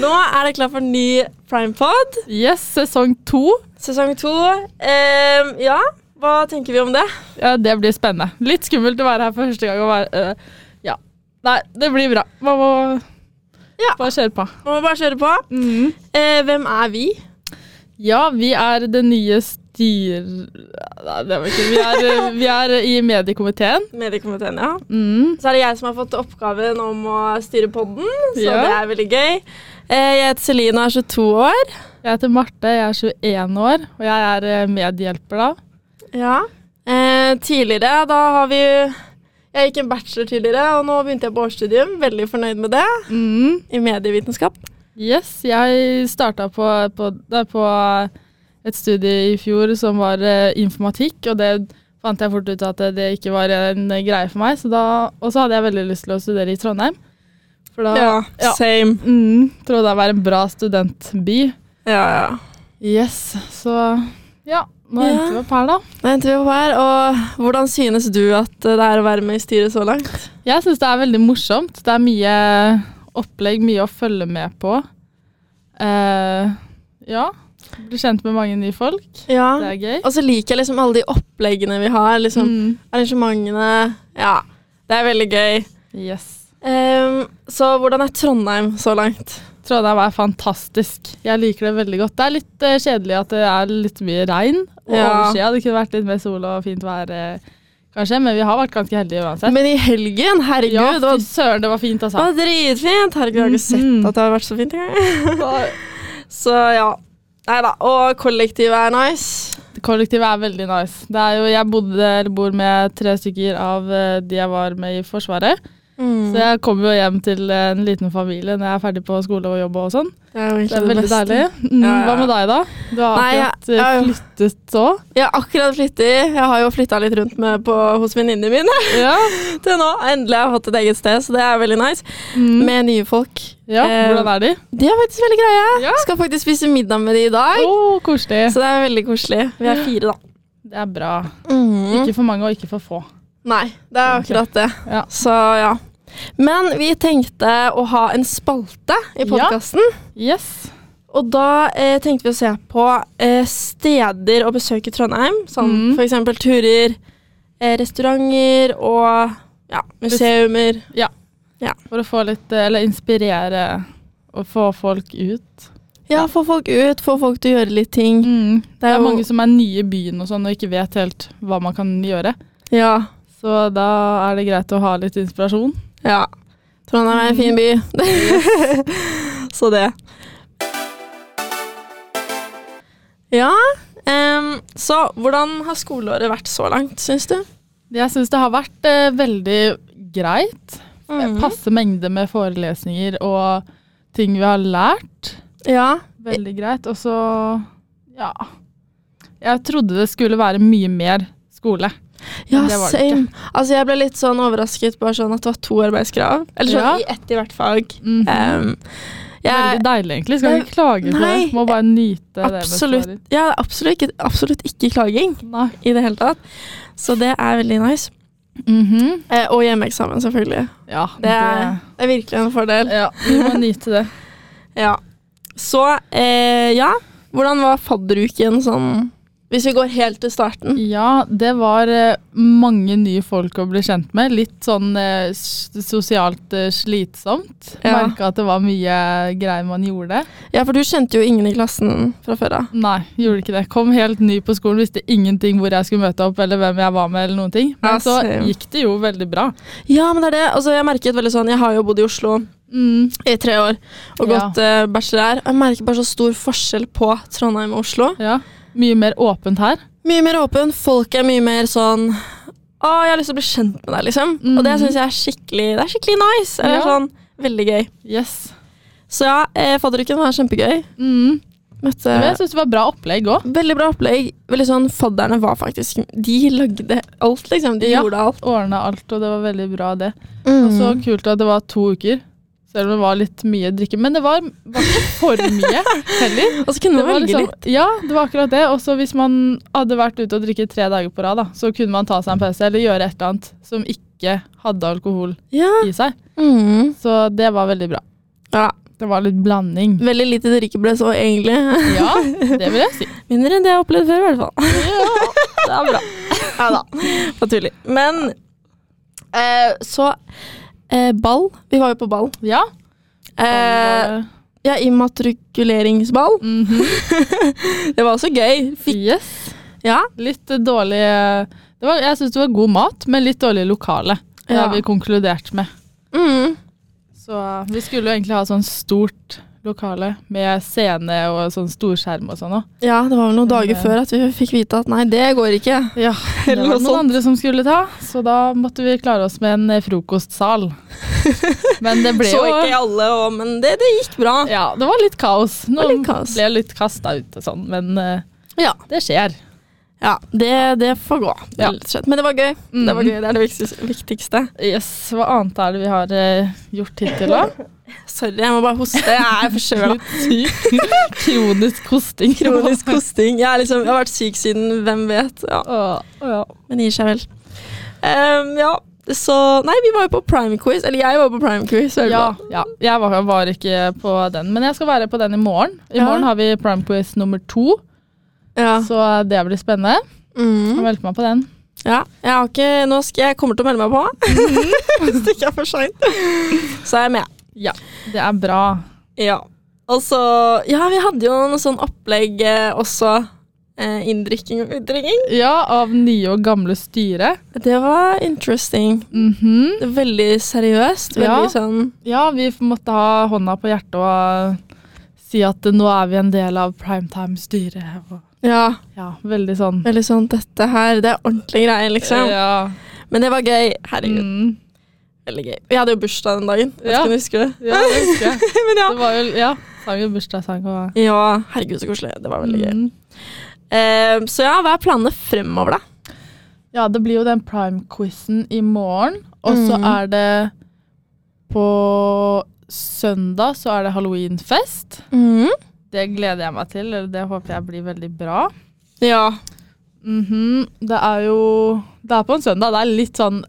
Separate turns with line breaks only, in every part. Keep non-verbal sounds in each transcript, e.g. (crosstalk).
Nå er det klart for ny Primepod,
Yes, sesong to.
sesong to. Ehm, ja, hva tenker vi om det?
Ja, det blir spennende. Litt skummelt å være her for første gang. Og være, øh, ja. Nei, det blir bra. Hva må
Ja.
bare kjøre på?
Man må bare kjøre på.
Mm.
Eh, hvem er vi?
Ja, vi er det nye styr... Nei, det var ikke Vi er, øh, vi er i mediekomiteen.
Mediekomiteen, ja.
Mm.
Så er det jeg som har fått oppgaven om å styre podden, så
Ja.
det er veldig gøy. Eh, jeg heter Celine og er 22 år.
Jeg heter Marte, jeg er 21 år, og jeg er øh, medhjelper da.
Ja. Eh, tidligere, da har vi Jeg gikk en bachelor tidligere, og nå begynte jeg på årsstudium. Veldig fornøyd med det.
Mm.
I medievitenskap.
Yes, jeg starta på, på, der på et studie i fjor som var eh, informatikk, og det fant jeg fort ut at det, det ikke var en greie for meg. Så da, og så hadde jeg veldig lyst til å studere i Trondheim. For da ja.
Same.
Mm, Trondheim er en bra studentby.
Ja, ja.
Yes, så ja. Nå
Ja.
endte vi opp her, da.
Da endte vi opp her, og hvordan synes du at det er å være med i styret så langt?
Jeg syns det er veldig morsomt. Det er mye opplegg, mye å følge med på. Eh, ja. Bli kjent med mange nye folk. Det
Ja.
er gøy.
Og så liker jeg liksom alle de oppleggene vi har, liksom
Mm.
arrangementene. Ja, det er veldig gøy.
Yes.
Ehm, så hvordan er Trondheim så langt?
Trondheim er fantastisk. Jeg liker det veldig godt. Det er litt eh, kjedelig at det er litt mye regn og
Ja.
overskyet. Det kunne vært litt mer sol og fint vær, eh, kanskje, men vi har vært ganske heldige uansett.
Men i helgen, herregud,
ja,
det var,
fy søren, det var fint,
det
altså.
var dritfint! Herregud, jeg har ikke
Mhm.
sett at det har vært så fint engang. (laughs) Så ja. Nei da. Og kollektivet er nice.
Kollektivet er veldig nice. Det er jo, jeg bodde, eller bor med tre stykker av eh, de jeg var med i Forsvaret.
Mm.
Så jeg kommer jo hjem til eh, en liten familie når jeg er ferdig på skole og jobb og sånn.
Det er jo
Det
egentlig
er
det,
veldig
beste.
deilig. Mm,
Ja, ja.
Hva med deg, da? Du har
Nei, jeg-
akkurat eh,
jeg-
flyttet òg.
Jeg har akkurat flyttet. Jeg har jo flytta litt rundt med på, hos venninnene mine (laughs)
Ja. (laughs)
til nå. Endelig har jeg fått et eget sted, så det er veldig nice.
Mm.
Med nye folk.
Ja,
Eh,
hvordan er de?
De er faktisk veldig greie.
Ja. Oh.
Skal faktisk spise middag med de i dag.
Å, koselig.
Så det er veldig koselig. Vi er fire, da.
Det er bra.
Mhm.
Ikke for mange og ikke for få.
Nei, det er akkurat det.
Ja.
Så ja. Men vi tenkte å ha en spalte i
Ja.
podkasten.
Yes.
Og da eh, tenkte vi å se på eh, steder å besøke i Trondheim. Sånn
Mm.
for f.eks. turer, eh, restauranter og ja, museumer.
For å få litt eh, Eller inspirere og få folk ut.
Ja, få folk ut, få folk til å gjøre litt ting.
Mm. Det er
jo-
mange som er nye i byen og sånn og ikke vet helt hva man kan gjøre.
Ja.
Så da er det greit å ha litt inspirasjon.
ja. Trondheim er en fin by. (laughs) Så det. Ja. em, så hvordan har skoleåret vært så langt, syns du?
Jeg syns det har vært eh, veldig greit. Passe mengde med forelesninger og ting vi har lært.
Ja.
Veldig greit. Og så ja. Jeg trodde det skulle være mye mer skole.
Ja,
Det var det ikke.
same. Altså, jeg ble litt sånn overrasket bare sånn at det var to arbeidskrav. Eller sånn
Ja.
i ett i hvert fag.
Mhm.
Em, Eh, jeg,
Veldig deilig, egentlig. Skal ikke klage på
Nei,
det. Må bare nyte
absolutt,
det.
ja, det er absolutt, ikke, absolutt ikke klaging
Absolutt. Nei.
i det hele tatt. Så det er veldig nice. Eh, og hjemmeeksamen, selvfølgelig.
Ja,
Det er, det er virkelig en fordel.
ja, vi må nyte det.
Ja. Så, eh, ja. Hvordan var fadderuken sånn Hvis vi går helt til starten.
Ja, det var eh, mange nye folk å bli kjent med. Litt sånn eh, s- sosialt eh, slitsomt.
Ja.
Merka at det var mye greier man gjorde.
Ja, for du kjente jo ingen i klassen fra før av.
Nei, gjorde ikke det. Kom helt ny på skolen, visste ingenting hvor jeg skulle møte opp eller hvem jeg var med eller noen ting. Men
Ja,
så
same.
gikk det jo veldig bra.
Ja, men det er det. Altså, jeg merket veldig sånn Jeg har jo bodd i Oslo.
Mm.
i tre år og
Ja.
gått eh, bachelor her. Jeg merker bare så stor forskjell på Trondheim og Oslo.
Ja. Mye mer åpent her.
Mye mer åpen. Folk er mye mer sånn Å, jeg har lyst til å bli kjent med deg, liksom. Og det
Mhm.
syns jeg er skikkelig Det er skikkelig nice. Eller
Ja.
sånn veldig gøy.
Yes.
Så ja, eh, fadderuken var kjempegøy.
Mm.
Møtte
Men jeg syns det var bra opplegg òg.
Veldig bra opplegg. Veldig sånn, Fadderne var faktisk De lagde alt, liksom. De
Ja. Mm.
gjorde alt.
ordna alt, og det var veldig bra, det. Og så
Mhm.
kult at det var to uker. Selv om det var litt mye drikke. Men det var, var ikke for mye
(laughs)
heller.
Og så kunne
Det
man
var
velge
liksom,
litt.
ja, det var akkurat det. Og så hvis man hadde vært ute og drikket tre dager på rad, da, så kunne man ta seg en pause eller gjøre et eller annet som ikke hadde alkohol
Ja.
i seg.
Mhm.
Mm. Så det var veldig bra.
ja.
Det var litt blanding.
Veldig lite drikkebrød så, egentlig. (laughs)
Ja, det vil jeg si.
Mindre enn det jeg har opplevd før, i hvert fall.
Det er bra.
Ja da, bare tuller. Men eh, så eh, Ball. Vi var jo på ball.
Ja.
Eh, ja, immatrikuleringsball.
Mhm.
(laughs) Det var også gøy. Fikk,
Yes.
ja.
Litt eh, dårlig eh, det var, Jeg syns det var god mat, men litt dårlig lokale. Det har
Ja.
vi konkludert med.
Mm.
Så vi skulle jo egentlig ha sånn stort lokale med scene og sånn storskjerm og sånn òg.
ja, det var vel noen dager
det-
før at vi fikk vite at nei, det går ikke.
Ja, det
Eller noe
var noen
sånt.
andre som skulle ta, så da måtte vi klare oss med en eh, frokostsal.
(laughs)
Men det ble
Så
jo
ikke alle, og, men det, det gikk bra.
Ja, det var litt kaos.
var
Noen
litt kaos.
ble litt kasta ut og sånn, men eh,
Ja.
det skjer.
Ja, det, det får gå.
Ja.
rett og slett. Men det var gøy. Det var gøy, det er det viktigste- viktigste.
Yes, Hva annet er det vi har eh, gjort hittil,
(laughs)
da?
Sorry, jeg må bare hoste. Jeg er (laughs) forkjøla.
Syk kronisk hosting.
Kronisk hosting. Jeg, er liksom, jeg har vært syk siden hvem vet. Ja.
Å, å ja.
Men gir seg vel. Ehm, ja, så Nei, vi var jo på prime quiz. Eller jeg var på prime quiz. var jeg
Ja,
glad.
ja. Jeg var, var ikke på den, men jeg skal være på den i morgen. I
Ja.
morgen har vi prime quiz nummer to,
Ja.
så det blir spennende. Jeg
Mm.
meldte meg på den.
ja. Jeg har ikke Nå skal jeg kommer til å melde meg på. (laughs) Hvis det ikke er for seint. Så er jeg med.
Ja, det er bra.
Ja. Og så Ja, vi hadde jo noe sånn opplegg eh, også. Eh, inndrikking og utdrikking.
Ja, av nye og gamle styre.
Det var interesting.
Mhm.
Det var Veldig seriøst. Veldig
Ja.
sånn
Ja, vi f- måtte ha hånda på hjertet og si at nå er vi en del av primetime-styret. og-
Ja,
Ja, veldig sånn.
veldig sånn Dette her, det er ordentlige greier, liksom.
Ja.
Men det var gøy. Herregud,
Mm.
veldig gøy. Vi hadde jo bursdag den dagen. Jeg vet
Ja.
ikke om du husker det.
ja, det husker jeg.
(laughs) Men ja.
Det var jo, ja, sang og bursdagssang og
Ja, herregud så koselig. Det var veldig gøy.
Mm.
Eh, så ja, hva er planene fremover, da?
Ja, det blir jo den prime-quizen i morgen. Og så
Mhm.
er det på søndag så er det halloweenfest. Det gleder jeg meg til, eller det håper jeg blir veldig bra.
Ja.
Mhm. Det er jo Det er på en søndag. Det er litt sånn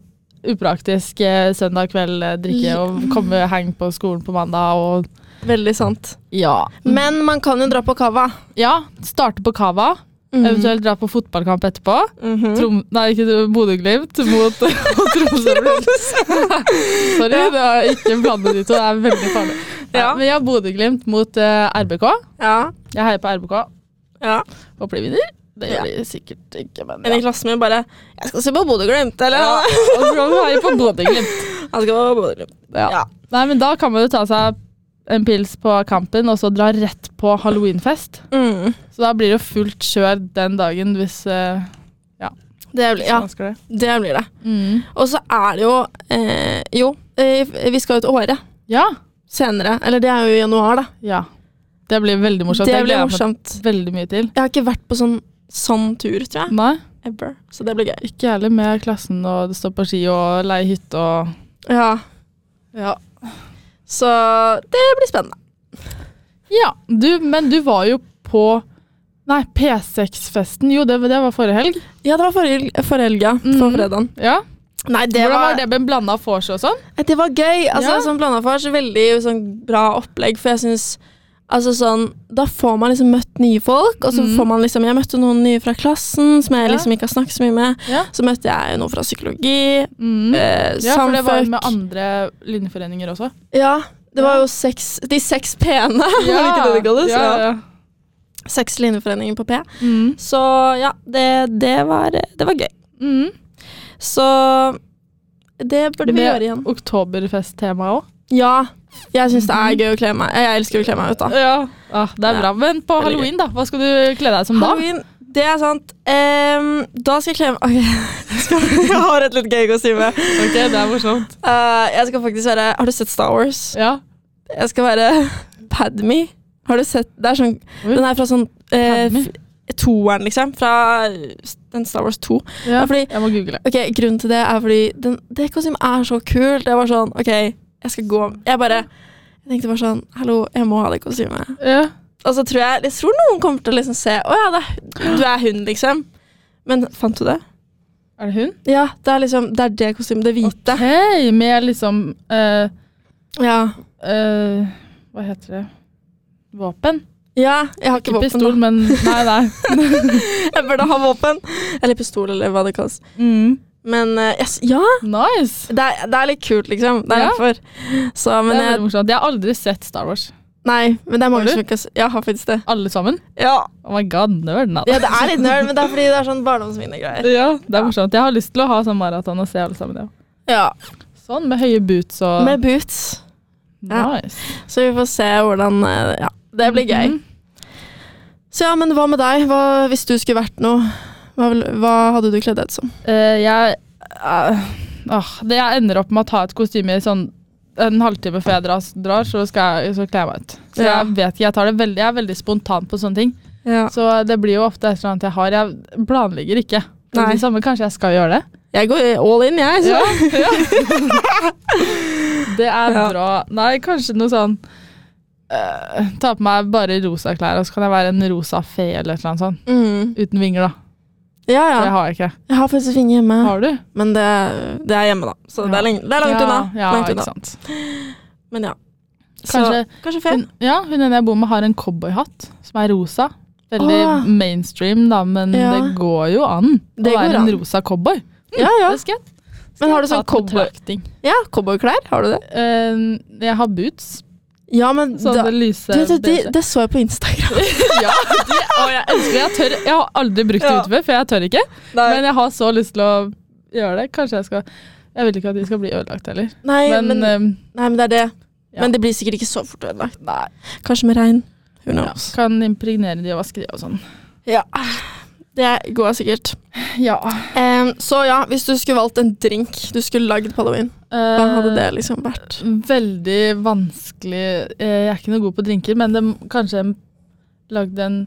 upraktisk eh, søndag kveld, eh, drikke
Ja.
og komme heng på skolen på mandag og
Veldig sant.
Ja.
Men man kan jo dra på cava.
ja starte på Cava, eventuelt dra på fotballkamp etterpå.
Mm.
Trom, nei, ikke Trom- Bodø-Glimt mot (laughs) og Tromsø-Glimt. (laughs) Sorry, det var ikke blandet de to. Det er veldig farlig.
Ja.
Ja. Men ja, Bodø-Glimt mot eh, RBK.
Ja.
Jeg heier på RBK.
ja.
Håper de vinner. Det
Ja.
gjør de sikkert ikke, men
En i klassen min bare 'Jeg skal se på Bodø-Glimt', eller?
Ja, og så kan man heie på Bodø-Glimt.
(laughs) Jeg skal på Bodø-Glimt.
Ja.
Ja.
Nei, men da kan man jo ta seg en pils på kampen, og så dra rett på halloweenfest.
Mm.
Så da blir det jo fullt kjør den dagen, hvis eh,
Det, blir, ja,
man ønsker det.
det blir det.
Mm.
Og så er det jo eh, Jo, eh, vi skal jo til Åre
Ja.
senere. Eller det er jo i januar, da.
ja. Det blir veldig morsomt.
Det
Jeg
blir
gleder meg
morsomt.
Veldig mye til.
Jeg har ikke vært på sånn sånn tur, tror jeg.
Nei,
Ever. Så det blir gøy.
ikke heller med klassen og stå på ski og leie hytte og
Ja.
ja.
Så det blir spennende.
ja. Du, men du var jo på Nei, P6-festen. Jo, det, det var forrige helg.
Ja, det var forrige, forrige helg, ja. På
Mhm.
fredagen.
Ja.
Mm. Nei, det
Hvordan var
var,
det med blanda vors og sånn?
det var gøy. Altså,
Ja.
Sånn blanda for så veldig sånn, bra opplegg, for jeg syns Altså sånn, Da får man liksom møtt nye folk, og så
Mhm.
får man liksom Jeg møtte noen nye fra klassen som jeg
Ja.
liksom ikke har snakket så mye med.
Ja.
Så møtte jeg noen fra psykologi,
Mm.
eh,
Ja, for det var jo
samfuck.
med andre
(laughs)
linjeforeninger også.
Ja, det var
Ja.
jo seks De seks P-ene, (laughs) var det ikke det det kalles?
Ja, ja.
Ja. Seks linjeforeninger på P.
Mm.
Så ja, det, det, var, det var gøy.
Mm.
Så det burde vi
Med
gjøre igjen.
Oktoberfest-tema òg.
Ja, jeg syns det er
Mhm.
gøy å kle meg. Jeg elsker å kle meg ut, da.
Ja. Ah, det er
Ja.
bra. Men på
Veldig
halloween, da? Hva skal du kle deg som da?
Halloween, det er sant. Ehm, da skal jeg kle meg Ok, (laughs) jeg, skal, jeg har et litt gøy kostyme.
Ok, Det er morsomt.
Eh, jeg skal faktisk være Har du sett Star Wars?
Ja.
Jeg skal være Padme. Har du sett Det er sånn
Oi.
Den er fra sånn eh,
Padme?
f- toeren, liksom. Fra den Star Wars 2.
ja.
Ja, fordi-
Jeg må google.
Ok, Grunnen til det er fordi den, det kostymet er så kult. Jeg var sånn OK, jeg skal gå Jeg bare Jeg tenkte bare sånn Hallo, jeg må ha det kostymet.
Ja.
Og så tror jeg Jeg tror noen kommer til å liksom se Å ja, det, er- du er hun, liksom. Men fant du det?
Er det hun?
Ja, det er liksom Det er det kostymet. Det hvite.
Hei, med liksom eh,
Ja.
eh, Hva heter det? Våpen?
Ja, jeg har ikke,
Ikke
våpen. (laughs)
pistol, men Nei, nei.
Da. (laughs) Jeg burde ha våpen. Eller pistol, eller hva det kalles.
Mm.
Men eh, yes, ja,
Nice!
det er, det er litt kult, liksom. Det er
Ja.
derfor. Så,
Det
men
er veldig
jeg,
morsomt. Jeg har aldri sett Star Wars.
nei, men det er
Har
mange
du?
som ikke har s- Ja, har faktisk det.
Alle sammen.
Ja.
Oh my god, nerd. Nei.
ja, det er litt nerd, men det er fordi det er sånn barndomsminnegreier.
Ja, det er morsomt. Jeg har lyst til å ha sånn maraton og se alle sammen. Ja.
Ja.
Sånn, med høye boots og
Med boots. ja.
Nice.
Så vi får se hvordan eh, Ja, det blir gøy.
Mhm.
Så ja, men hva med deg? Hva, hvis du skulle vært noe, hva, vil- hva hadde du kledd deg ut som?
Eh, jeg eh, åh, det Jeg ender opp med å ta et kostyme i sånn en halvtime før jeg dras, drar, så skal jeg så kler jeg meg ut. Så
Ja.
jeg vet ikke, jeg tar det veldig, jeg er veldig spontan på sånne ting.
Ja.
Så det blir jo ofte et eller annet jeg har. Jeg planlegger ikke. Det
Nei.
er det samme, kanskje jeg skal gjøre det.
Jeg går all in, jeg. Så.
Det er
Ja.
bra. Nei, kanskje noe sånn eh, Ta på meg bare rosa klær, og så kan jeg være en rosa fe eller et eller annet sånt.
Mm.
Uten vinger, da.
Ja,
For det
ja.
har jeg ikke.
Jeg har faktisk finger hjemme.
Har du?
Men det, det er hjemme, da. Så det,
Ja.
er lenge, det er langt
ja,
unna.
Ja,
langt
ikke
unna.
sant.
Men ja.
Kanskje-
så, kanskje fem?
Hun, ja, hun ene jeg bor med har en cowboyhatt som er rosa. Veldig
Ah.
mainstream, da, men
Ja.
det går jo an
Det
å
går
være
an.
en rosa cowboy.
Ja, ja.
Det skal jeg
Men har du
ta
sånn
til
cowboy,
betraktning.
ja, cowboyklær? Har du det?
Eh, jeg har boots.
Ja, men da,
Sånne lyse
du, det, det,
beige.
det så jeg på
(laughs)
Instagram.
Ja, de, å, jeg elsker det. Jeg, tør, jeg har aldri brukt det
Ja.
utover, for jeg tør ikke.
Nei,
Men jeg har så lyst til å gjøre det. Kanskje jeg skal Jeg vil ikke at de skal bli ødelagt heller.
nei,
Men, ehm,
men, nei, men
øhm,
det er det.
ja.
Men det blir sikkert ikke så fort ødelagt. Kanskje med regn. Who
ja,
knows.
kan impregnere de og vaske de og sånn.
Ja. Det går sikkert.
Ja.
Em, så ja, hvis du skulle valgt en drink du skulle lagd på halloween, hva
Eh,
hadde det liksom vært?
Veldig vanskelig Eh, Jeg er ikke noe god på drinker, men det, kanskje jeg lagde en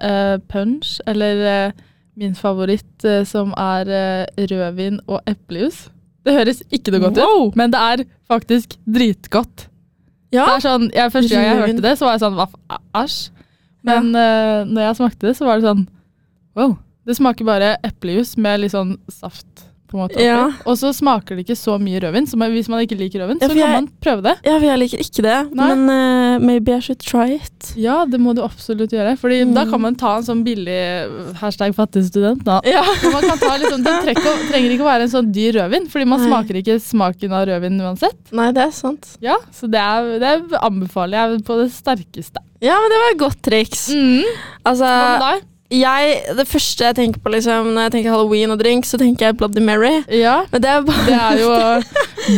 eh, punch, eller eh, min favoritt, eh, som er eh, rødvin og eplejus. Det høres ikke noe godt ut, men det er faktisk dritgodt.
Ja,
Det er sånn, jeg, første gang jeg
Rødvin.
hørte det, så var jeg sånn hva f- æsj. Men eh, når jeg smakte det, så var det sånn wow. Det smaker bare eplejus med litt sånn saft. på en måte. oppi.
Ja.
Og så smaker det ikke så mye rødvin, så man- hvis man ikke liker rødvin,
Ja,
så
for
kan
jeg-
man prøve det.
ja for jeg liker ikke det,
Nei.
men eh, maybe I should try it.
Ja, det må du absolutt gjøre, Fordi da kan man ta en sånn billig hashtag fattig student. Da.
Ja.
Men Man kan ta liksom, Den trekker, trenger ikke å være en sånn dyr rødvin, fordi man
Nei.
smaker ikke smaken av rødvin uansett.
Nei, det er sant.
Ja, Så det, er, det anbefaler jeg på det sterkeste.
Ja, men det var et godt triks.
Mm.
Altså,
Hva med deg?
jeg, det første jeg tenker på liksom, når jeg tenker halloween og drink, så tenker jeg Bloody Mary.
Eh, Ja.
Men det er bare
Det er jo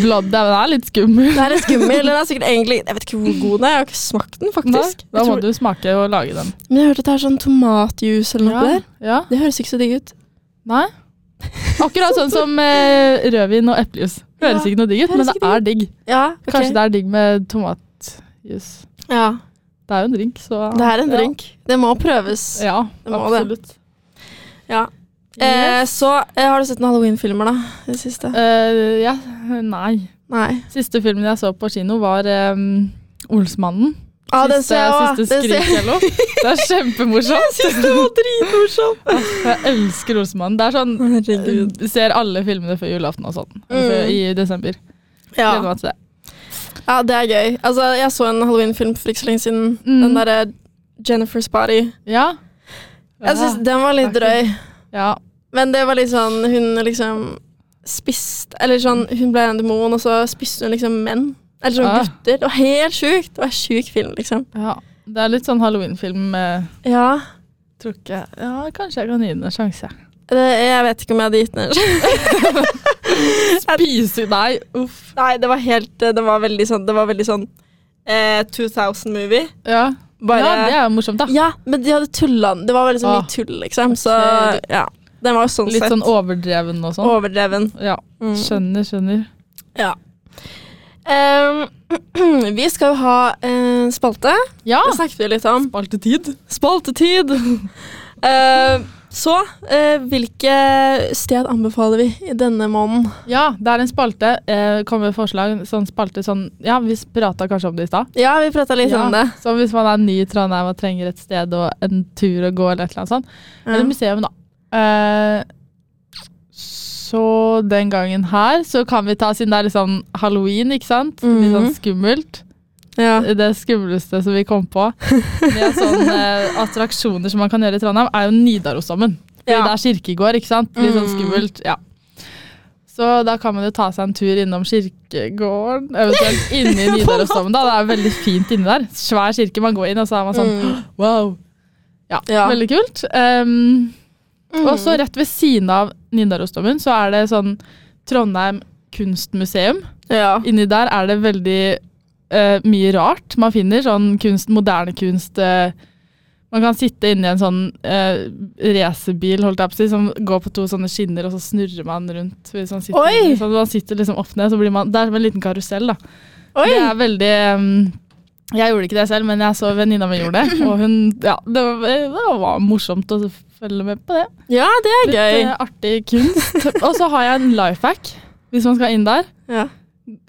Blood Down er litt skummel.
(laughs) det er litt skummel. eller Det er sikkert egentlig, jeg vet ikke hvor god den er, jeg har ikke smakt den faktisk. Jeg
Da må
tror,
du smake og lage den.
men jeg hørte at det er sånn tomatjuice eller noe der.
ja.
Det høres ikke så digg ut.
Nei. Akkurat sånn som eh, rødvin og eplejus. Høres
Ja,
ikke noe digg ut,
høres
men det
ikke
er digg.
Ja, ok.
Kanskje det er digg med tomatjus.
Ja,
Det er jo en drink, så
det er en drink. Det må prøves. Ja.
Ja,
Det
ja
må det.
absolutt.
Eh, så eh, har du sett noen halloween-filmer, da? I det siste?
Eh, ja, nei.
Nei.
Siste filmen jeg så på kino, var eh, Olsmannen.
Ah, den
siste
ser jeg også.
siste
Den ser (laughs) jeg.
skrikjello. Det er kjempemorsomt.
Det var dritmorsomt!
Jeg elsker Olsmannen. Det er sånn
Herregud.
ser alle filmene før julaften og sånn. Altså,
Mm.
I desember.
Ja.
Gleder meg til det.
ja, det er gøy. Altså, jeg så en halloween-film for ikke så lenge siden.
Mm.
Den derre Jennifer's Body.
Ja.
Jeg syns den var litt
det er
drøy.
ja.
Men det var litt sånn Hun liksom spiste Eller sånn, hun ble en demon, og så spiste hun liksom menn. Eller sånn
Ah.
gutter. Det var helt sjukt! Det var en sjuk film, liksom.
ja. Det er litt sånn halloweenfilm. Eh,
Ja.
tror ikke Ja, kanskje jeg kan gi den en sjanse.
(laughs) Det, jeg vet ikke om jeg hadde gitt den en
Spise Nei, (laughs) uff.
Nei, det var helt Det var veldig sånn, det var veldig sånn eh, 2000-movie.
Ja.
Bare
ja, det er jo morsomt, da.
Ja, men de hadde tulla den. Det var veldig så mye
Ah.
tull, liksom. Så
Ok,
ja. Den var jo sånn
Litt
sett
sånn overdreven og sånn.
overdreven.
Ja.
Mm.
Skjønner, skjønner.
Ja. Em, Ehm, (clears throat) vi skal jo ha en spalte.
Ja.
Det snakket vi litt om.
Spalte tid.
Ah. (laughs) Spaltetid! Eh, så eh, hvilke sted anbefaler vi i denne måneden?
Ja, det er en spalte. Eh, kommer med forslag. Sånn spalte sånn Ja, vi prata kanskje om det i stad.
Ja, vi prata litt
Ja,
om det.
Så hvis man er ny i Trondheim og trenger et sted og en tur å gå, eller et eller annet sånt. Eller
Ja.
museum, da. Eh, så den gangen her så kan vi ta, siden det er litt sånn halloween, ikke sant? Litt sånn
Mhm.
skummelt.
Ja.
Det skumleste som vi kom på med
(laughs)
sånne eh, attraksjoner som man kan gjøre i Trondheim, er jo Nidarosdomen. Fordi
Ja. Mm.
Det er kirkegård, ikke sant? Litt sånn skummelt. ja. Så da kan man jo ta seg en tur innom kirkegården, eventuelt inni
(laughs)
Nidarosdomen. da. Det er veldig fint inni der. Svær kirke. Man går inn, og så er man sånn
Mm.
(gasps) wow. Ja,
Ja. Mm.
veldig kult. Ehm, Og så rett ved siden av Nidarosdomen så er det sånn Trondheim kunstmuseum.
Ja.
Inni der er det veldig eh, mye rart man finner. Sånn kunst, moderne kunst. eh, man kan sitte inni en sånn eh, racerbil holdt jeg på å si, som går på to sånne skinner, og så snurrer man rundt. Hvis man sitter,
Oi!
inni, sånn, man sitter liksom opp ned, så blir man Det er som en liten karusell, da.
Oi!
Det er veldig ehm, Jeg gjorde ikke det selv, men jeg så venninna mi gjorde det. Og hun Ja, det var, det var morsomt å følge med på det.
Ja, det er
Litt
gøy.
eh, artig kunst. Og så har jeg en life hack, hvis man skal inn der.
Ja.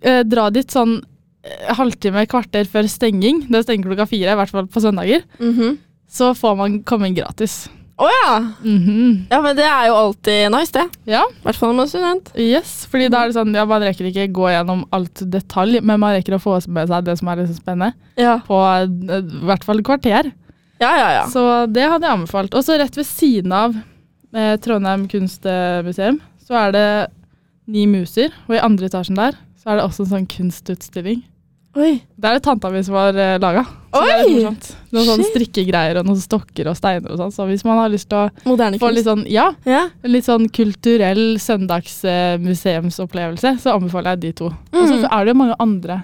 Eh, dra dit sånn eh, halvtime, kvarter før stenging. Det stenger klokka fire, i hvert fall på søndager.
Mhm.
Så får man komme inn gratis.
Å ja.
Mhm.
ja! Men det er jo alltid nice, det.
Ja,
I hvert fall når man er student.
yes. Fordi da er det sånn, ja, man rekker ikke gå gjennom alt detalj, men man rekker å få med seg det som er liksom spennende,
Ja,
på eh, i hvert fall et kvarter.
ja, ja. ja.
Så det hadde jeg anbefalt. Og så rett ved siden av eh, Trondheim kunstmuseum, så er det Ni muser, og i andre etasjen der så er det også en sånn kunstutstilling.
Oi.
Det er det tanta mi som har eh, laga. Så det er
Oi!
litt morsomt. Noen sånne
Shit.
strikkegreier og noen stokker og steiner og sånn. Så hvis man har lyst til å
Moderne
få litt
kunst.
sånn, ja,
Ja.
litt sånn kulturell søndagsmuseumsopplevelse, så anbefaler jeg de to. Og så
Mm.
er det jo mange andre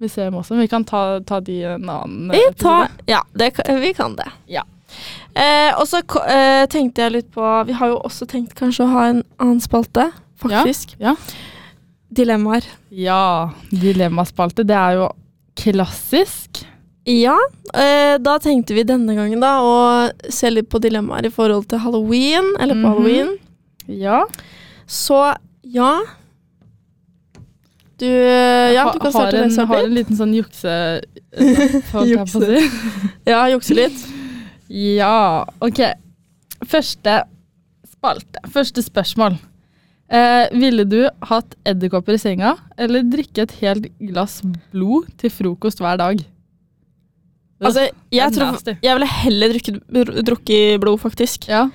museum også, men vi kan ta, ta de en annen
Vi
eh,
tar,
episode.
ja, det, ka- vi kan det.
Ja.
Eh, og så ko- eh, tenkte jeg litt på Vi har jo også tenkt kanskje å ha en annen spalte, faktisk.
Ja.
Dilemmaer.
Ja, dilemmaspalte. Det er jo klassisk.
Ja, eh, da tenkte vi denne gangen da å se litt på dilemmaer i forhold til halloween, eller på
Mhm.
halloween.
Ja.
Så ja Du, eh, ja, du kan
har,
starte den
en,
som
har en liten sånn jukse...
(laughs)
holdt jeg på å si.
Ja, jukse litt. (laughs)
Ja, ok. Første spalte. Første spørsmål. Eh, ville du hatt edderkopper i senga, eller drikke et helt glass blod til frokost hver dag?
Altså, jeg,
er
tror,
nasty.
jeg ville heller drukket drukke blod, faktisk.
Ja.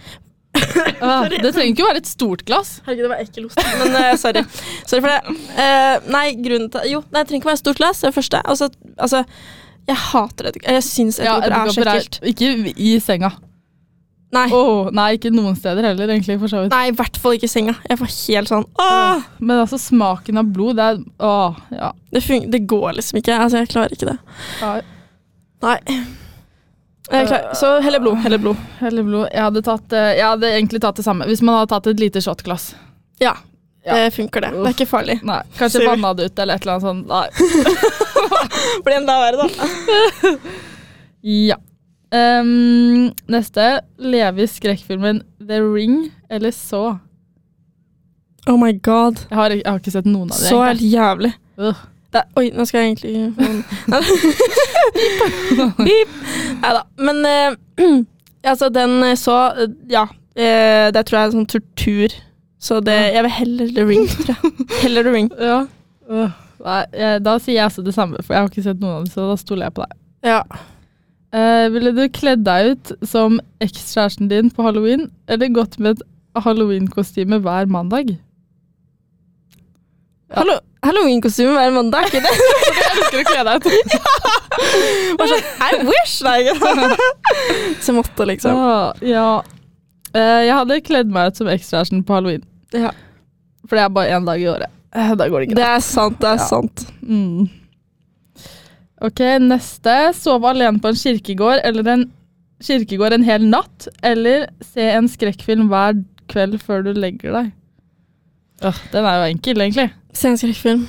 (laughs) Ah, det trenger ikke være et stort glass.
Herregud, det var ekkel ost. Men eh, sorry. sorry for det. Eh, nei, grunnen til Jo, nei, det trenger ikke være stort glass, det er det første. Altså, altså jeg hater edderkopper. Jeg syns
Ja,
edderkopper er så
edderkopper
ekkelt.
er ikke i senga.
Nei.
Åh, nei, ikke noen steder heller, egentlig, for så vidt.
nei, i hvert fall ikke i senga. Jeg får helt sånn Åh!
Men altså, smaken av blod, det er Åh, ja.
Det, fun det går liksom ikke. Altså, jeg klarer ikke det. Nei. Jeg klarer. Så heller blod. Heller blod.
Heller blod. Jeg hadde, tatt, eh, jeg hadde egentlig tatt det samme. Hvis man hadde tatt et lite shotglass.
Ja.
Ja.
Det funker, det. Det er ikke farlig.
Nei, kanskje
Ser vi.
banna det ut eller et eller annet sånt. Nei.
Bli enda verre, da.
Ja. Ehm, neste. Leve i skrekkfilmen The Ring eller Så.
Oh my god.
Jeg har, jeg har ikke sett noen av dem.
Så helt jævlig.
Øh.
Det er, oi, nå skal jeg (laughs) egentlig Beep! Nei da. Men eh, (clears throat) altså, den eh, så eh, Ja. eh, det tror jeg er sånn tortur. Så det Jeg vil heller The Ring, tror jeg. (laughs) Heller The Ring.
Ja. Øh, Nei, jeg, da sier jeg også det samme, for jeg har ikke sett noen av dem, så da stoler jeg på deg.
Ja.
Eh, ville du kledd deg ut som ekskjæresten din på halloween, eller gått med et halloween-kostyme hver mandag?
Hallo, Halloween-kostyme hver mandag, er ikke det?
Elsker å kle deg ut.
Bare sånn I wish! Nei, ikke (laughs) Som åtte, liksom.
Åh, ja. Eh, jeg hadde kledd meg ut som ekskjæresten på halloween.
Ja.
For det er bare én dag i året. Eh, Da går det ikke.
Det er sant, det er sant.
Mm. Ok, neste. Sove alene på en kirkegård eller en kirkegård en hel natt. Eller se en skrekkfilm hver kveld før du legger deg. Åh, den er jo enkel, egentlig.
Se en skrekkfilm.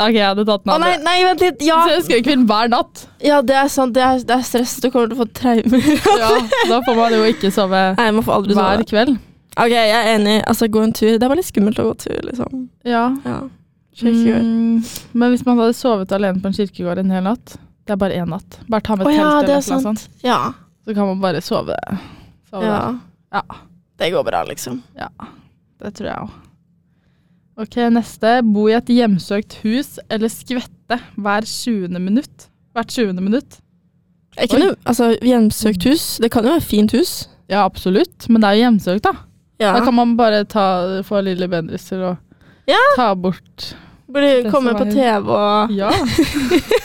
Ok, jeg hadde tatt den
Å nei, nei, vent litt. Ja,
Se en skrekkfilm hver natt.
ja det er sant. Det er, det er stress. Du kommer til å få traumer.
Ja, (laughs)
(laughs)
da får man jo ikke sove
Nei, man får aldri sove.
hver kveld.
Ok, jeg er enig. Altså, gå en tur. Det er bare litt skummelt å gå tur, liksom.
Ja.
Ja. Mm.
Mm, men hvis man hadde sovet alene på en kirkegård en hel natt Det er bare én natt. Bare ta med
Å
telt
ja,
eller
det
noe
er sant.
sånt.
Ja.
Så kan man bare sove. sove
ja.
der. Ja.
Det går bra, liksom.
Det tror jeg òg. Ok, neste. Bo i et hjemsøkt hus eller skvette hver 20. minutt. Hvert 20. minutt.
Jeg kan jo, altså, hjemsøkt hus, det kan jo være fint hus.
Ja, absolutt. Men det er jo hjemsøkt, da.
Ja.
Da kan man bare ta, få lille Bendriss til å
Ja.
ta bort
Burde
Det
komme
som
på
er-
TV og
Ja.
(laughs)
Eh,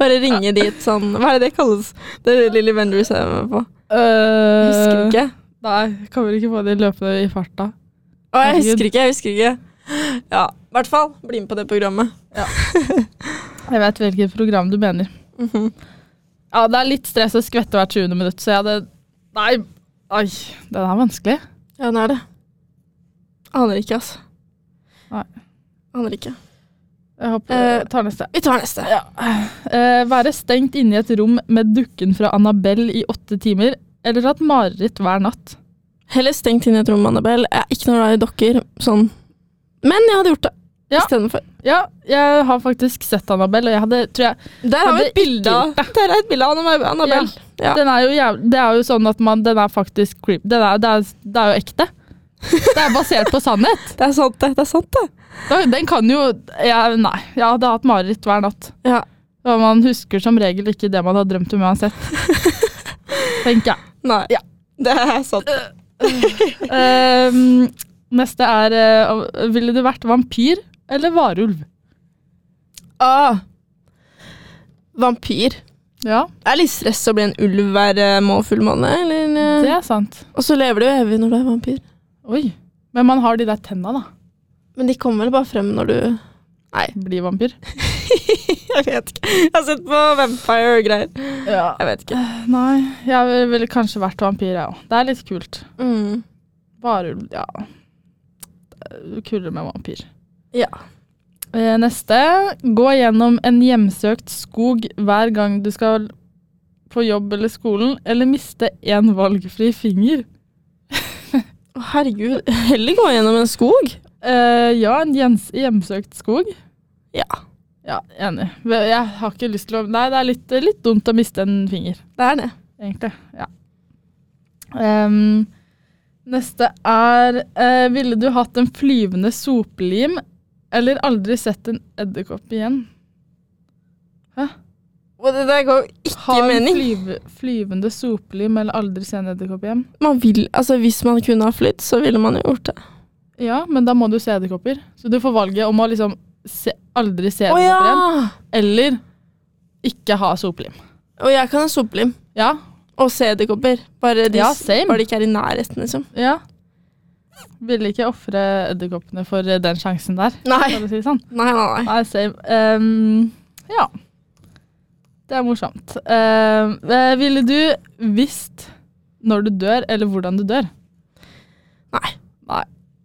bare ringe dit sånn Hva er det det kalles? Det Lilly Bendriss er med på. Jeg husker
Uh,
ikke.
nei, kommer ikke på det i løpende i farta.
Å, jeg
Herregud.
husker ikke, jeg husker ikke. Ja, i hvert fall. Bli med på det programmet.
Jeg vet hvilket program du mener.
Mhm.
Ja, det er litt stress å skvette hvert 20. minutt, så jeg hadde Nei, ai, den er vanskelig.
Ja, den er det. Aner ikke, altså.
Nei.
Aner ikke.
Jeg håper
Eh,
jeg tar neste.
Vi tar neste.
Eh, være stengt inne i et rom med dukken fra Annabelle i åtte timer, eller hatt mareritt hver natt.
Heller stengt inn i et rom, Annabelle. Jeg er ikke noe glad i dokker. Sånn. Men jeg hadde gjort det.
Ja.
Istedenfor.
Ja, jeg har faktisk sett Annabelle, og jeg hadde, tror jeg
Der har vi
Hadde
et bilde av Der er et bilde av Anna- Annabelle. Ja.
Den er jo jæv- Det er jo sånn at man Den er faktisk creep. Den er, det, er, det er jo ekte. Det er basert på sannhet.
Det er sant, det. det er sant det.
Da- Den kan jo ja, Nei. Jeg hadde hatt mareritt hver natt.
Ja.
Og man husker som regel ikke det man har drømt om uansett.
(laughs)
Tenker jeg.
Nei.
Ja.
Det er sant.
Ehm, neste er eh, Ville du vært vampyr eller varulv?
Ah. Vampyr.
Ja,
Det er litt stress å bli en ulv hver eh, må fullmåne. eller, eh,
det er sant.
Og så lever du jo evig når du er vampyr.
Oi. Men man har de der tenna, da.
Men de kommer vel bare frem når du
Bli vampyr.
Jeg vet ikke. Jeg har sett på Vampire og greier.
Ja.
Jeg vet ikke.
Nei, jeg ville kanskje vært vampyr, jeg òg. Det er litt kult.
Mm.
Varulv, ja. Kulere med vampyr.
Ja.
Eh, Neste. Gå gjennom en hjemsøkt skog hver gang du skal på jobb eller skolen, eller miste én valgfri finger.
Å, Herregud. Heller gå gjennom en skog.
Eh, ja, en gjens- hjemsøkt skog.
Ja.
Ja, Enig. Ve- Jeg har ikke lyst til å Nei, det er litt, litt dumt å miste en finger,
Det er det.
egentlig. Ja. Em, neste er eh, Ville du hatt en flyvende sopelim eller aldri sett en edderkopp igjen?
Og det der går jo
Ha
ikke
en
mening.
flyve, flyvende sopelim eller aldri se en edderkopp igjen?
Man vil, altså Hvis man kunne ha flytt, så ville man jo gjort det.
Ja, men da må du se edderkopper. Så du får valget om å liksom se, aldri se
Å
edderkopper
ja!
igjen, eller ikke ha sopelim.
Og jeg kan ha sopelim.
Ja,
Og se edderkopper. Bare, de-
Ja, same.
bare de ikke er i nærheten, liksom.
ja. Ville ikke ofre edderkoppene for eh, den sjansen der,
Nei,
for å si det sånn.
nei, nei. nei.
Nei, same. Ehm, ja. Det er morsomt. Ehm, eh, ville du visst når du dør, eller hvordan du dør?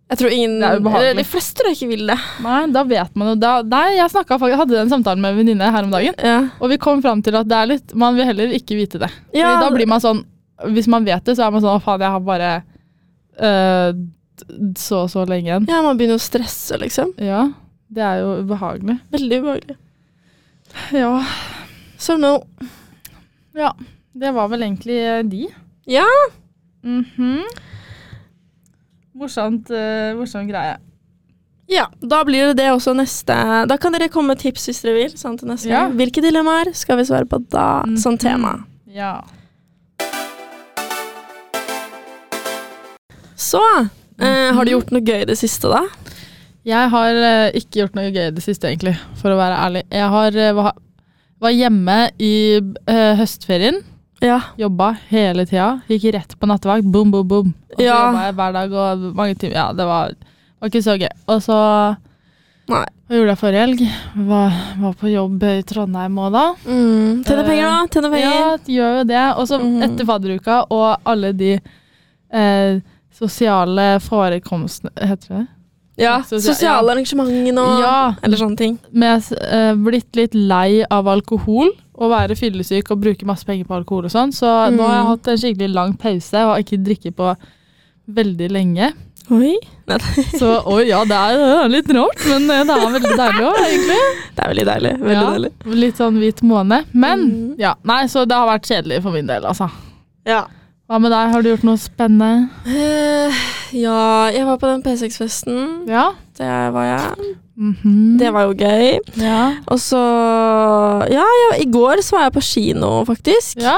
Jeg tror ingen
Det er ubehagelig.
eller De fleste tror jeg ikke vil det.
Nei, da vet man jo da, Nei, jeg snakket faktisk, hadde den samtalen med en venninne her om dagen,
Ja,
og vi kom fram til at det er litt Man vil heller ikke vite det. Fordi
ja
da blir man sånn Hvis man vet det, så er man sånn Å, faen, jeg har bare eh, d- så og så lenge igjen.
ja, man begynner å stresse, liksom.
Ja, det er jo ubehagelig.
Veldig ubehagelig.
Ja,
So no.
det var vel egentlig eh, de.
Ja.
Mhm. Morsomt, eh, morsom greie.
Ja, da blir det det også neste Da kan dere komme med tips hvis dere vil. Sånn til neste
Ja.
gang. Hvilke dilemmaer skal vi svare på da?
Mhm.
Sånn tema.
Ja.
Så eh, Har du
Mm.
gjort noe gøy i det siste, da?
Jeg har eh, ikke gjort noe gøy i det siste, egentlig, for å være ærlig. Jeg har, eh, var, var hjemme i eh, høstferien,
Ja.
jobba hele tida, gikk rett på nattevakt, boom, boom, boom. Og så
Ja.
jobba jeg hver dag og mange timer. Ja, det var, var ikke så gøy. Og så
Nei.
Hva gjorde jeg forrige helg? Var, var på jobb i Trondheim òg da.
Mm. Tjene
Eh,
penger, da. Tjene penger.
Ja, det gjør jo det. Og så
Mhm.
etter fadderuka og alle de eh, sosiale forekomstene Heter det det?
Ja,
Sosia-
Sosiale
ja.
arrangementer og
Ja.
eller sånne ting.
Med eh, blitt litt lei av alkohol og være fyllesyk og bruke masse penger på alkohol og sånn. Så nå har jeg
Mhm.
hatt en skikkelig lang pause og har ikke drikket på veldig lenge.
Oi.
Så oi, ja, det er, det er litt rart, men eh, det er veldig deilig òg, egentlig.
(laughs) Det er veldig deilig. (laughs) Veldig
ja,
deilig.
Litt sånn hvit måne. Men
Mhm.
ja, nei, så det har vært kjedelig for min del, altså.
Ja.
Hva med deg, har du gjort noe spennende?
Eh, ja, jeg var på den P6-festen.
Ja?
Det var jeg.
Mhm. Mm.
Det var jo gøy.
ja.
Og så Ja, ja i går så var jeg på kino, faktisk.
ja.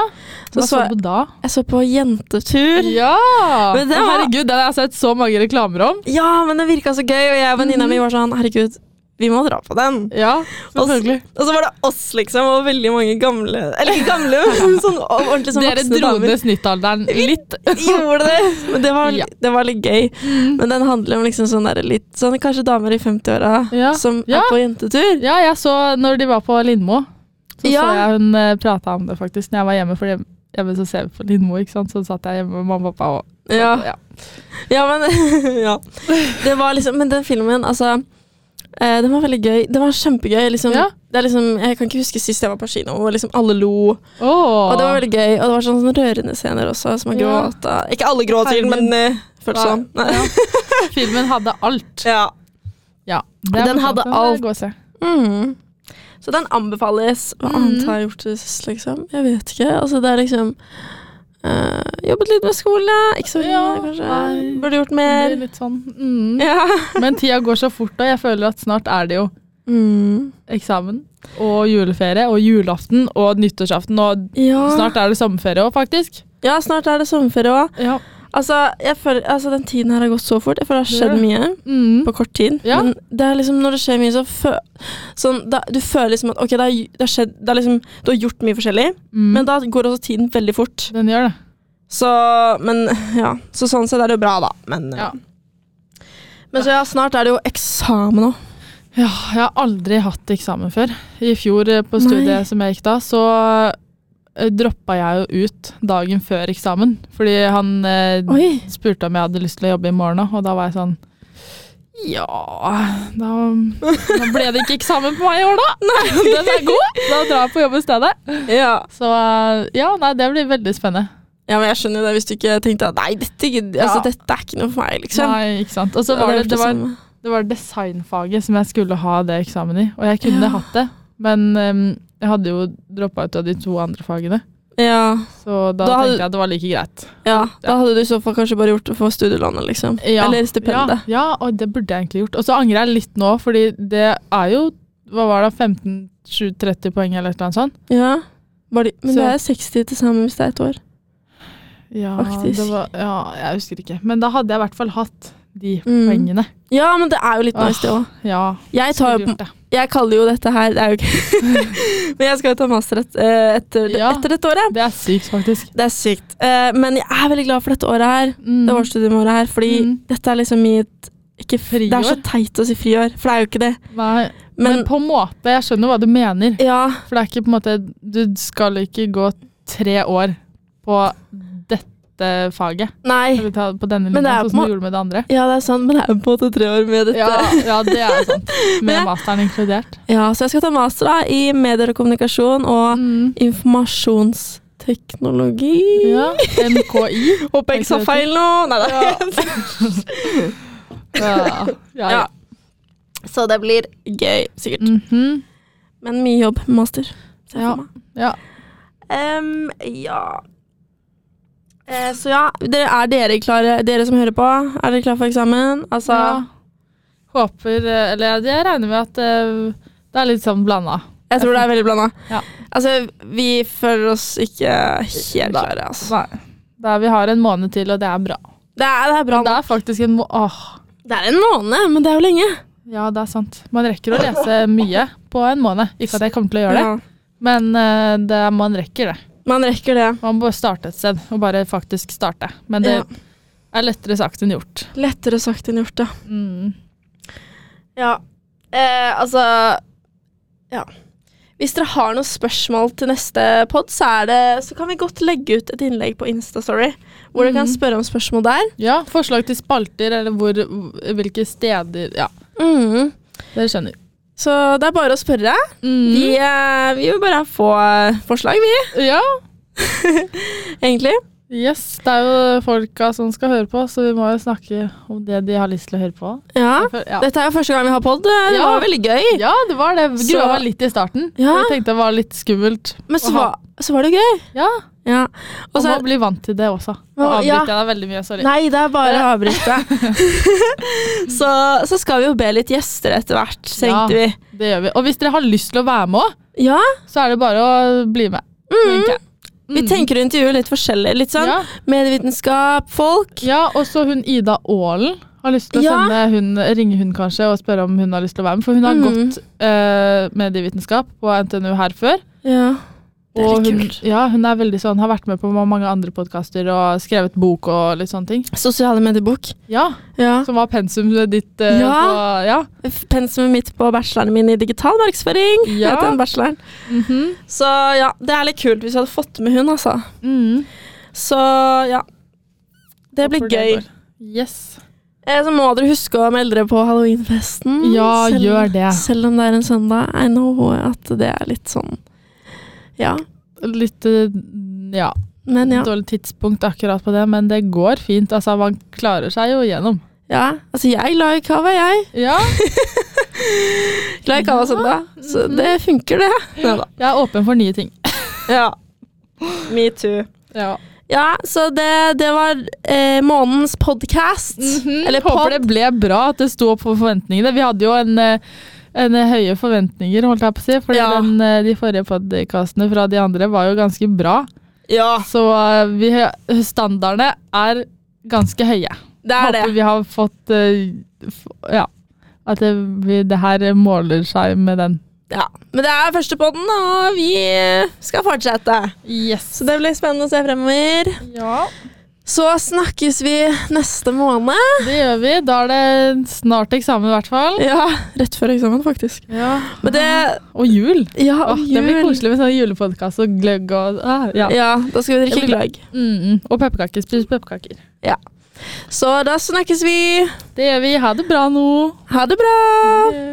Så
Hva
så
så du da?
Jeg så på Jentetur.
Ja!
Men det
Å,
var-
Herregud, den har jeg sett så mange reklamer om.
Ja, men det virka så gøy, og jeg og venninna
Mm.
mi var sånn Herregud, vi må dra på den.
Ja,
Og s-
selvfølgelig.
Og så var det oss, liksom, og veldig mange gamle Eller ikke
(laughs)
gamle, men sånn ordentlig sånn
Dere
voksne
dro
damer.
ned snittalderen litt.
Gjorde det! Men det var,
(laughs) Ja. Mm.
det var litt gøy. Men den handler om liksom sånn der litt sånn kanskje damer i 50-åra
Ja.
som
Ja.
er på jentetur.
Ja, jeg så når de var på Lindmo, så
Ja.
så jeg hun eh, prata om det faktisk når jeg var hjemme. For hjemme, hjemme så ser vi på Lindmo, ikke sant. Så satt jeg hjemme med mamma og pappa og
Ja,
ja.
ja men (laughs) Ja. Det var liksom Men den filmen, altså eh, Den var veldig gøy. Den var kjempegøy. Liksom,
Ja.
det er liksom, jeg kan ikke huske sist jeg var på kino, og liksom alle lo.
Åh.
Og det var veldig gøy. Og det var sånne rørende scener også, som man
Ja.
gråt av. Ikke alle gråt til, men eh, føltes sånn.
Nei.
Nei.
Ja. Filmen hadde alt.
Ja.
Ja.
Den
er morsomt.
hadde
må jeg
alt.
gå og se.
Mm. Så den anbefales. Hva
Mm.
annet har jeg gjort til sist, liksom? Jeg vet ikke. Altså, det er liksom eh, Jobbet litt med skolen, ja. Ikke så mye,
Ja,
kanskje.
nei.
Burde gjort
Det blir
mer.
litt sånn mm.
Ja.
Men tida går så fort, og jeg føler at snart er det jo
Mm.
eksamen og juleferie og julaften og nyttårsaften, og
Ja.
snart er det sommerferie òg, faktisk.
ja, snart er det sommerferie òg.
Ja.
Altså, jeg føler, altså, den tiden her har gått så fort. Jeg føler det har skjedd
Det
mye
Mm.
på kort tid.
Ja.
Men det er liksom, når det skjer mye, så fø sånn, da, Du føler liksom at OK, det har, gj- det har skjedd det har liksom, Du har gjort mye forskjellig,
Mm.
men da går også tiden veldig fort.
Den gjør det.
Så, men, (laughs) ja. så sånn sett er det jo bra, da. Men, eh,
Ja.
men så ja, snart er det jo eksamen òg.
Ja, jeg har aldri hatt eksamen før. I fjor eh, på
Nei.
studiet som jeg gikk da, så eh, droppa jeg jo ut dagen før eksamen. Fordi han eh,
Oi.
spurte om jeg hadde lyst til å jobbe i morgen òg, og da var jeg sånn ja da, da ble det ikke eksamen på meg i år, (laughs) da. Den er god. Da drar jeg på jobb i stedet.
Ja.
Så eh, ja, nei, det blir veldig spennende.
men jeg skjønner jo det hvis du ikke tenkte at nei, dette, gidder- altså,
Ja.
dette er ikke noe for meg, liksom.
Nei, ikke sant. Og så var det, det, var, det var designfaget som jeg skulle ha det eksamen i, og jeg kunne
Ja.
hatt det. Men eh, jeg hadde jo droppa ut av de to andre fagene,
ja.
så da,
Da hadde-
tenkte jeg at det var like greit.
ja, da hadde du i så fall kanskje bare gjort det for studielånet, liksom.
Ja.
Eller stipendet.
Ja, ja, og det burde jeg egentlig gjort. Og så angrer jeg litt nå, fordi det er jo hva var det, 15-30 poeng eller et eller annet sånt.
Ja. Bare, de- men
Så-
det er 60 til sammen hvis det er et år.
Ja,
Faktisk.
Det var, ja, jeg husker ikke. Men da hadde jeg i hvert fall hatt de
Mm.
poengene.
Ja, men det er jo litt
Åh,
nice, det òg.
Ja,
Jeg, tar jo-
skulle gjort det.
jeg kaller jo dette her Det er jo ikke (laughs) Men jeg skal jo ta masterrett eh, etter,
Ja.
etter dette året.
Det er sykt, faktisk.
Det er sykt. Eh, men jeg er veldig glad for dette året her.
Mm.
Det årsstudiumåret her. Fordi
Mm.
dette er liksom mitt ikke friår. Det er så
Friår?
teit å si friår, for det er jo ikke det.
Nei, men,
Men,
på en måte, jeg skjønner hva du mener.
ja,
For det er ikke på en måte Du skal ikke gå tre år på dette faget.
nei.
Eller ta- på denne
Men det
linja,
er på
sånn som
må-
du gjorde med det andre.
Ja, det er sant, men det er jo på en måte tre år med dette.
Ja,
Ja,
ja, det
(laughs)
er sant. Med
Men-
masteren inkludert.
Så jeg skal ta master da, i medier og kommunikasjon og
Mm.
informasjonsteknologi.
Ja, MKI.
Håper jeg ikke sa feil nå! Nei da.
Ja. ja, ja.
Ja. (laughs) Så det blir gøy, sikkert.
Mhm.
Men mye jobb med master. ser jeg
Ja.
for meg.
ja.
Ehm, ja. Eh, så ja, dere, er dere klare, dere som hører på? Er dere klare for eksamen? Altså,
ja. Håper eh, Eller jeg regner med at eh, det er litt sånn blanda.
Jeg tror det er veldig blanda.
Ja.
Altså, vi føler oss ikke helt
Nei.
klare, altså.
Nei. Da vi har en måned til, og det er bra.
Det er, det er bra.
Det er faktisk en må... Åh.
Det er en måned, men det er jo lenge.
Ja, det er sant. Man rekker å lese mye på en måned. Ikke at jeg kommer til å gjøre det,
Ja.
men eh, det, man rekker det.
Man rekker det.
Man må starte et sted, og bare faktisk starte. Men det
Ja.
er lettere sagt enn gjort.
Lettere sagt enn gjort, ja.
Mm.
Ja, eh, altså Ja. Hvis dere har noen spørsmål til neste pod, så, er det, så kan vi godt legge ut et innlegg på Instastory hvor dere kan
Mm.
spørre om spørsmål der.
Ja, forslag til spalter, eller hvor, hvilke steder Ja, dere skjønner.
Så det er bare å spørre.
Mm.
Vi, eh, vi vil bare få eh, forslag, vi,
Ja,
egentlig.
yes. Det er jo folka som skal høre på, så vi må jo snakke om det de har lyst til å høre på.
Ja.
Ja,
Dette er jo første gang vi har pod. Det
Ja.
var veldig gøy.
ja det var det.
Så-
Grua meg litt i starten.
Ja.
Jeg tenkte det var litt skummelt.
Men så
Å ha
var, så var det gøy.
Ja,
Ja. Og
man
så
må
er-
bli vant til det også. Nå
Å, ja.
avbryter jeg deg veldig mye, sorry.
Nei, det er bare å
(laughs)
avbryte. (laughs) så, så skal vi jo be litt gjester etter hvert, tenkte
Ja. Det gjør vi. Og hvis dere har lyst til å være med òg,
vi. Ja,
så er det bare å bli med. tenker jeg.
Vi
Mm.
tenker å intervjue litt forskjellig. Litt sånn
Ja,
medievitenskap, folk.
ja og så hun Ida Aalen har lyst til å
Ja.
sende hun, ringe hun kanskje og spørre om hun har lyst til å være med. For hun har
Mm.
gått eh, medievitenskap på NTNU her før.
Ja. Det er
Og
litt
hun,
kult.
ja, hun er veldig sånn, har vært med på mange andre podkaster og skrevet bok og litt sånne ting.
Sosiale mediebok.
Ja,
Ja.
Som var pensumet ditt. eh,
Ja.
På, ja.
Pensumet mitt på bacheloren min i digital markedsføring.
Ja.
Het den bacheloren.
Mhm.
Så ja, det er litt kult hvis vi hadde fått med hun, altså.
Mhm.
Så ja. Det blir
Håper
gøy.
går. Yes.
Eh, Så må dere huske å melde dere på halloweenfesten.
Ja,
selv-
gjør det.
Selv om det er en søndag. I know at det er litt sånn Ja.
Litt eh, ja,
Men ja.
dårlig tidspunkt akkurat på det, men det går fint. Altså, man klarer seg jo gjennom.
ja. Altså, jeg er glad i kava, jeg.
Ja,
Glad i kava søndag. Så det funker, det. Neida.
jeg er åpen for nye ting.
Ja. Me too.
Ja.
Ja, så det, det var eh, månedens podkast. Eller
Håper
pod.
det ble bra at det sto opp for forventningene. Vi hadde jo en, eh, en eh, høye forventninger, holdt jeg på å si, for
Ja.
den, eh, de forrige podkastene fra de andre var jo ganske bra.
Ja,
Så eh, vi, standardene er ganske høye.
det er
Håper
det.
vi har fått eh, f Ja. At det, vi, det her måler seg med den.
Ja. Men det er første podden, og vi eh, skal fortsette.
Yes.
Så det blir spennende å se fremover.
Ja.
Så snakkes vi neste måned.
Det gjør vi. Da er det snart eksamen, i hvert fall.
Ja, rett før eksamen, faktisk.
Ja.
Men det
Og jul.
Ja,
Åh,
og
Det blir
jul.
koselig med sånn julepodkast og gløgg og ah, ja.
Ja, da skal vi drikke
Det blir bra.
gløgg.
Mm, mm. Og pepperkaker. Spis pepperkaker.
Så da snakkes vi.
Det gjør vi. Ha det bra nå.
Ha det bra!
Ha det.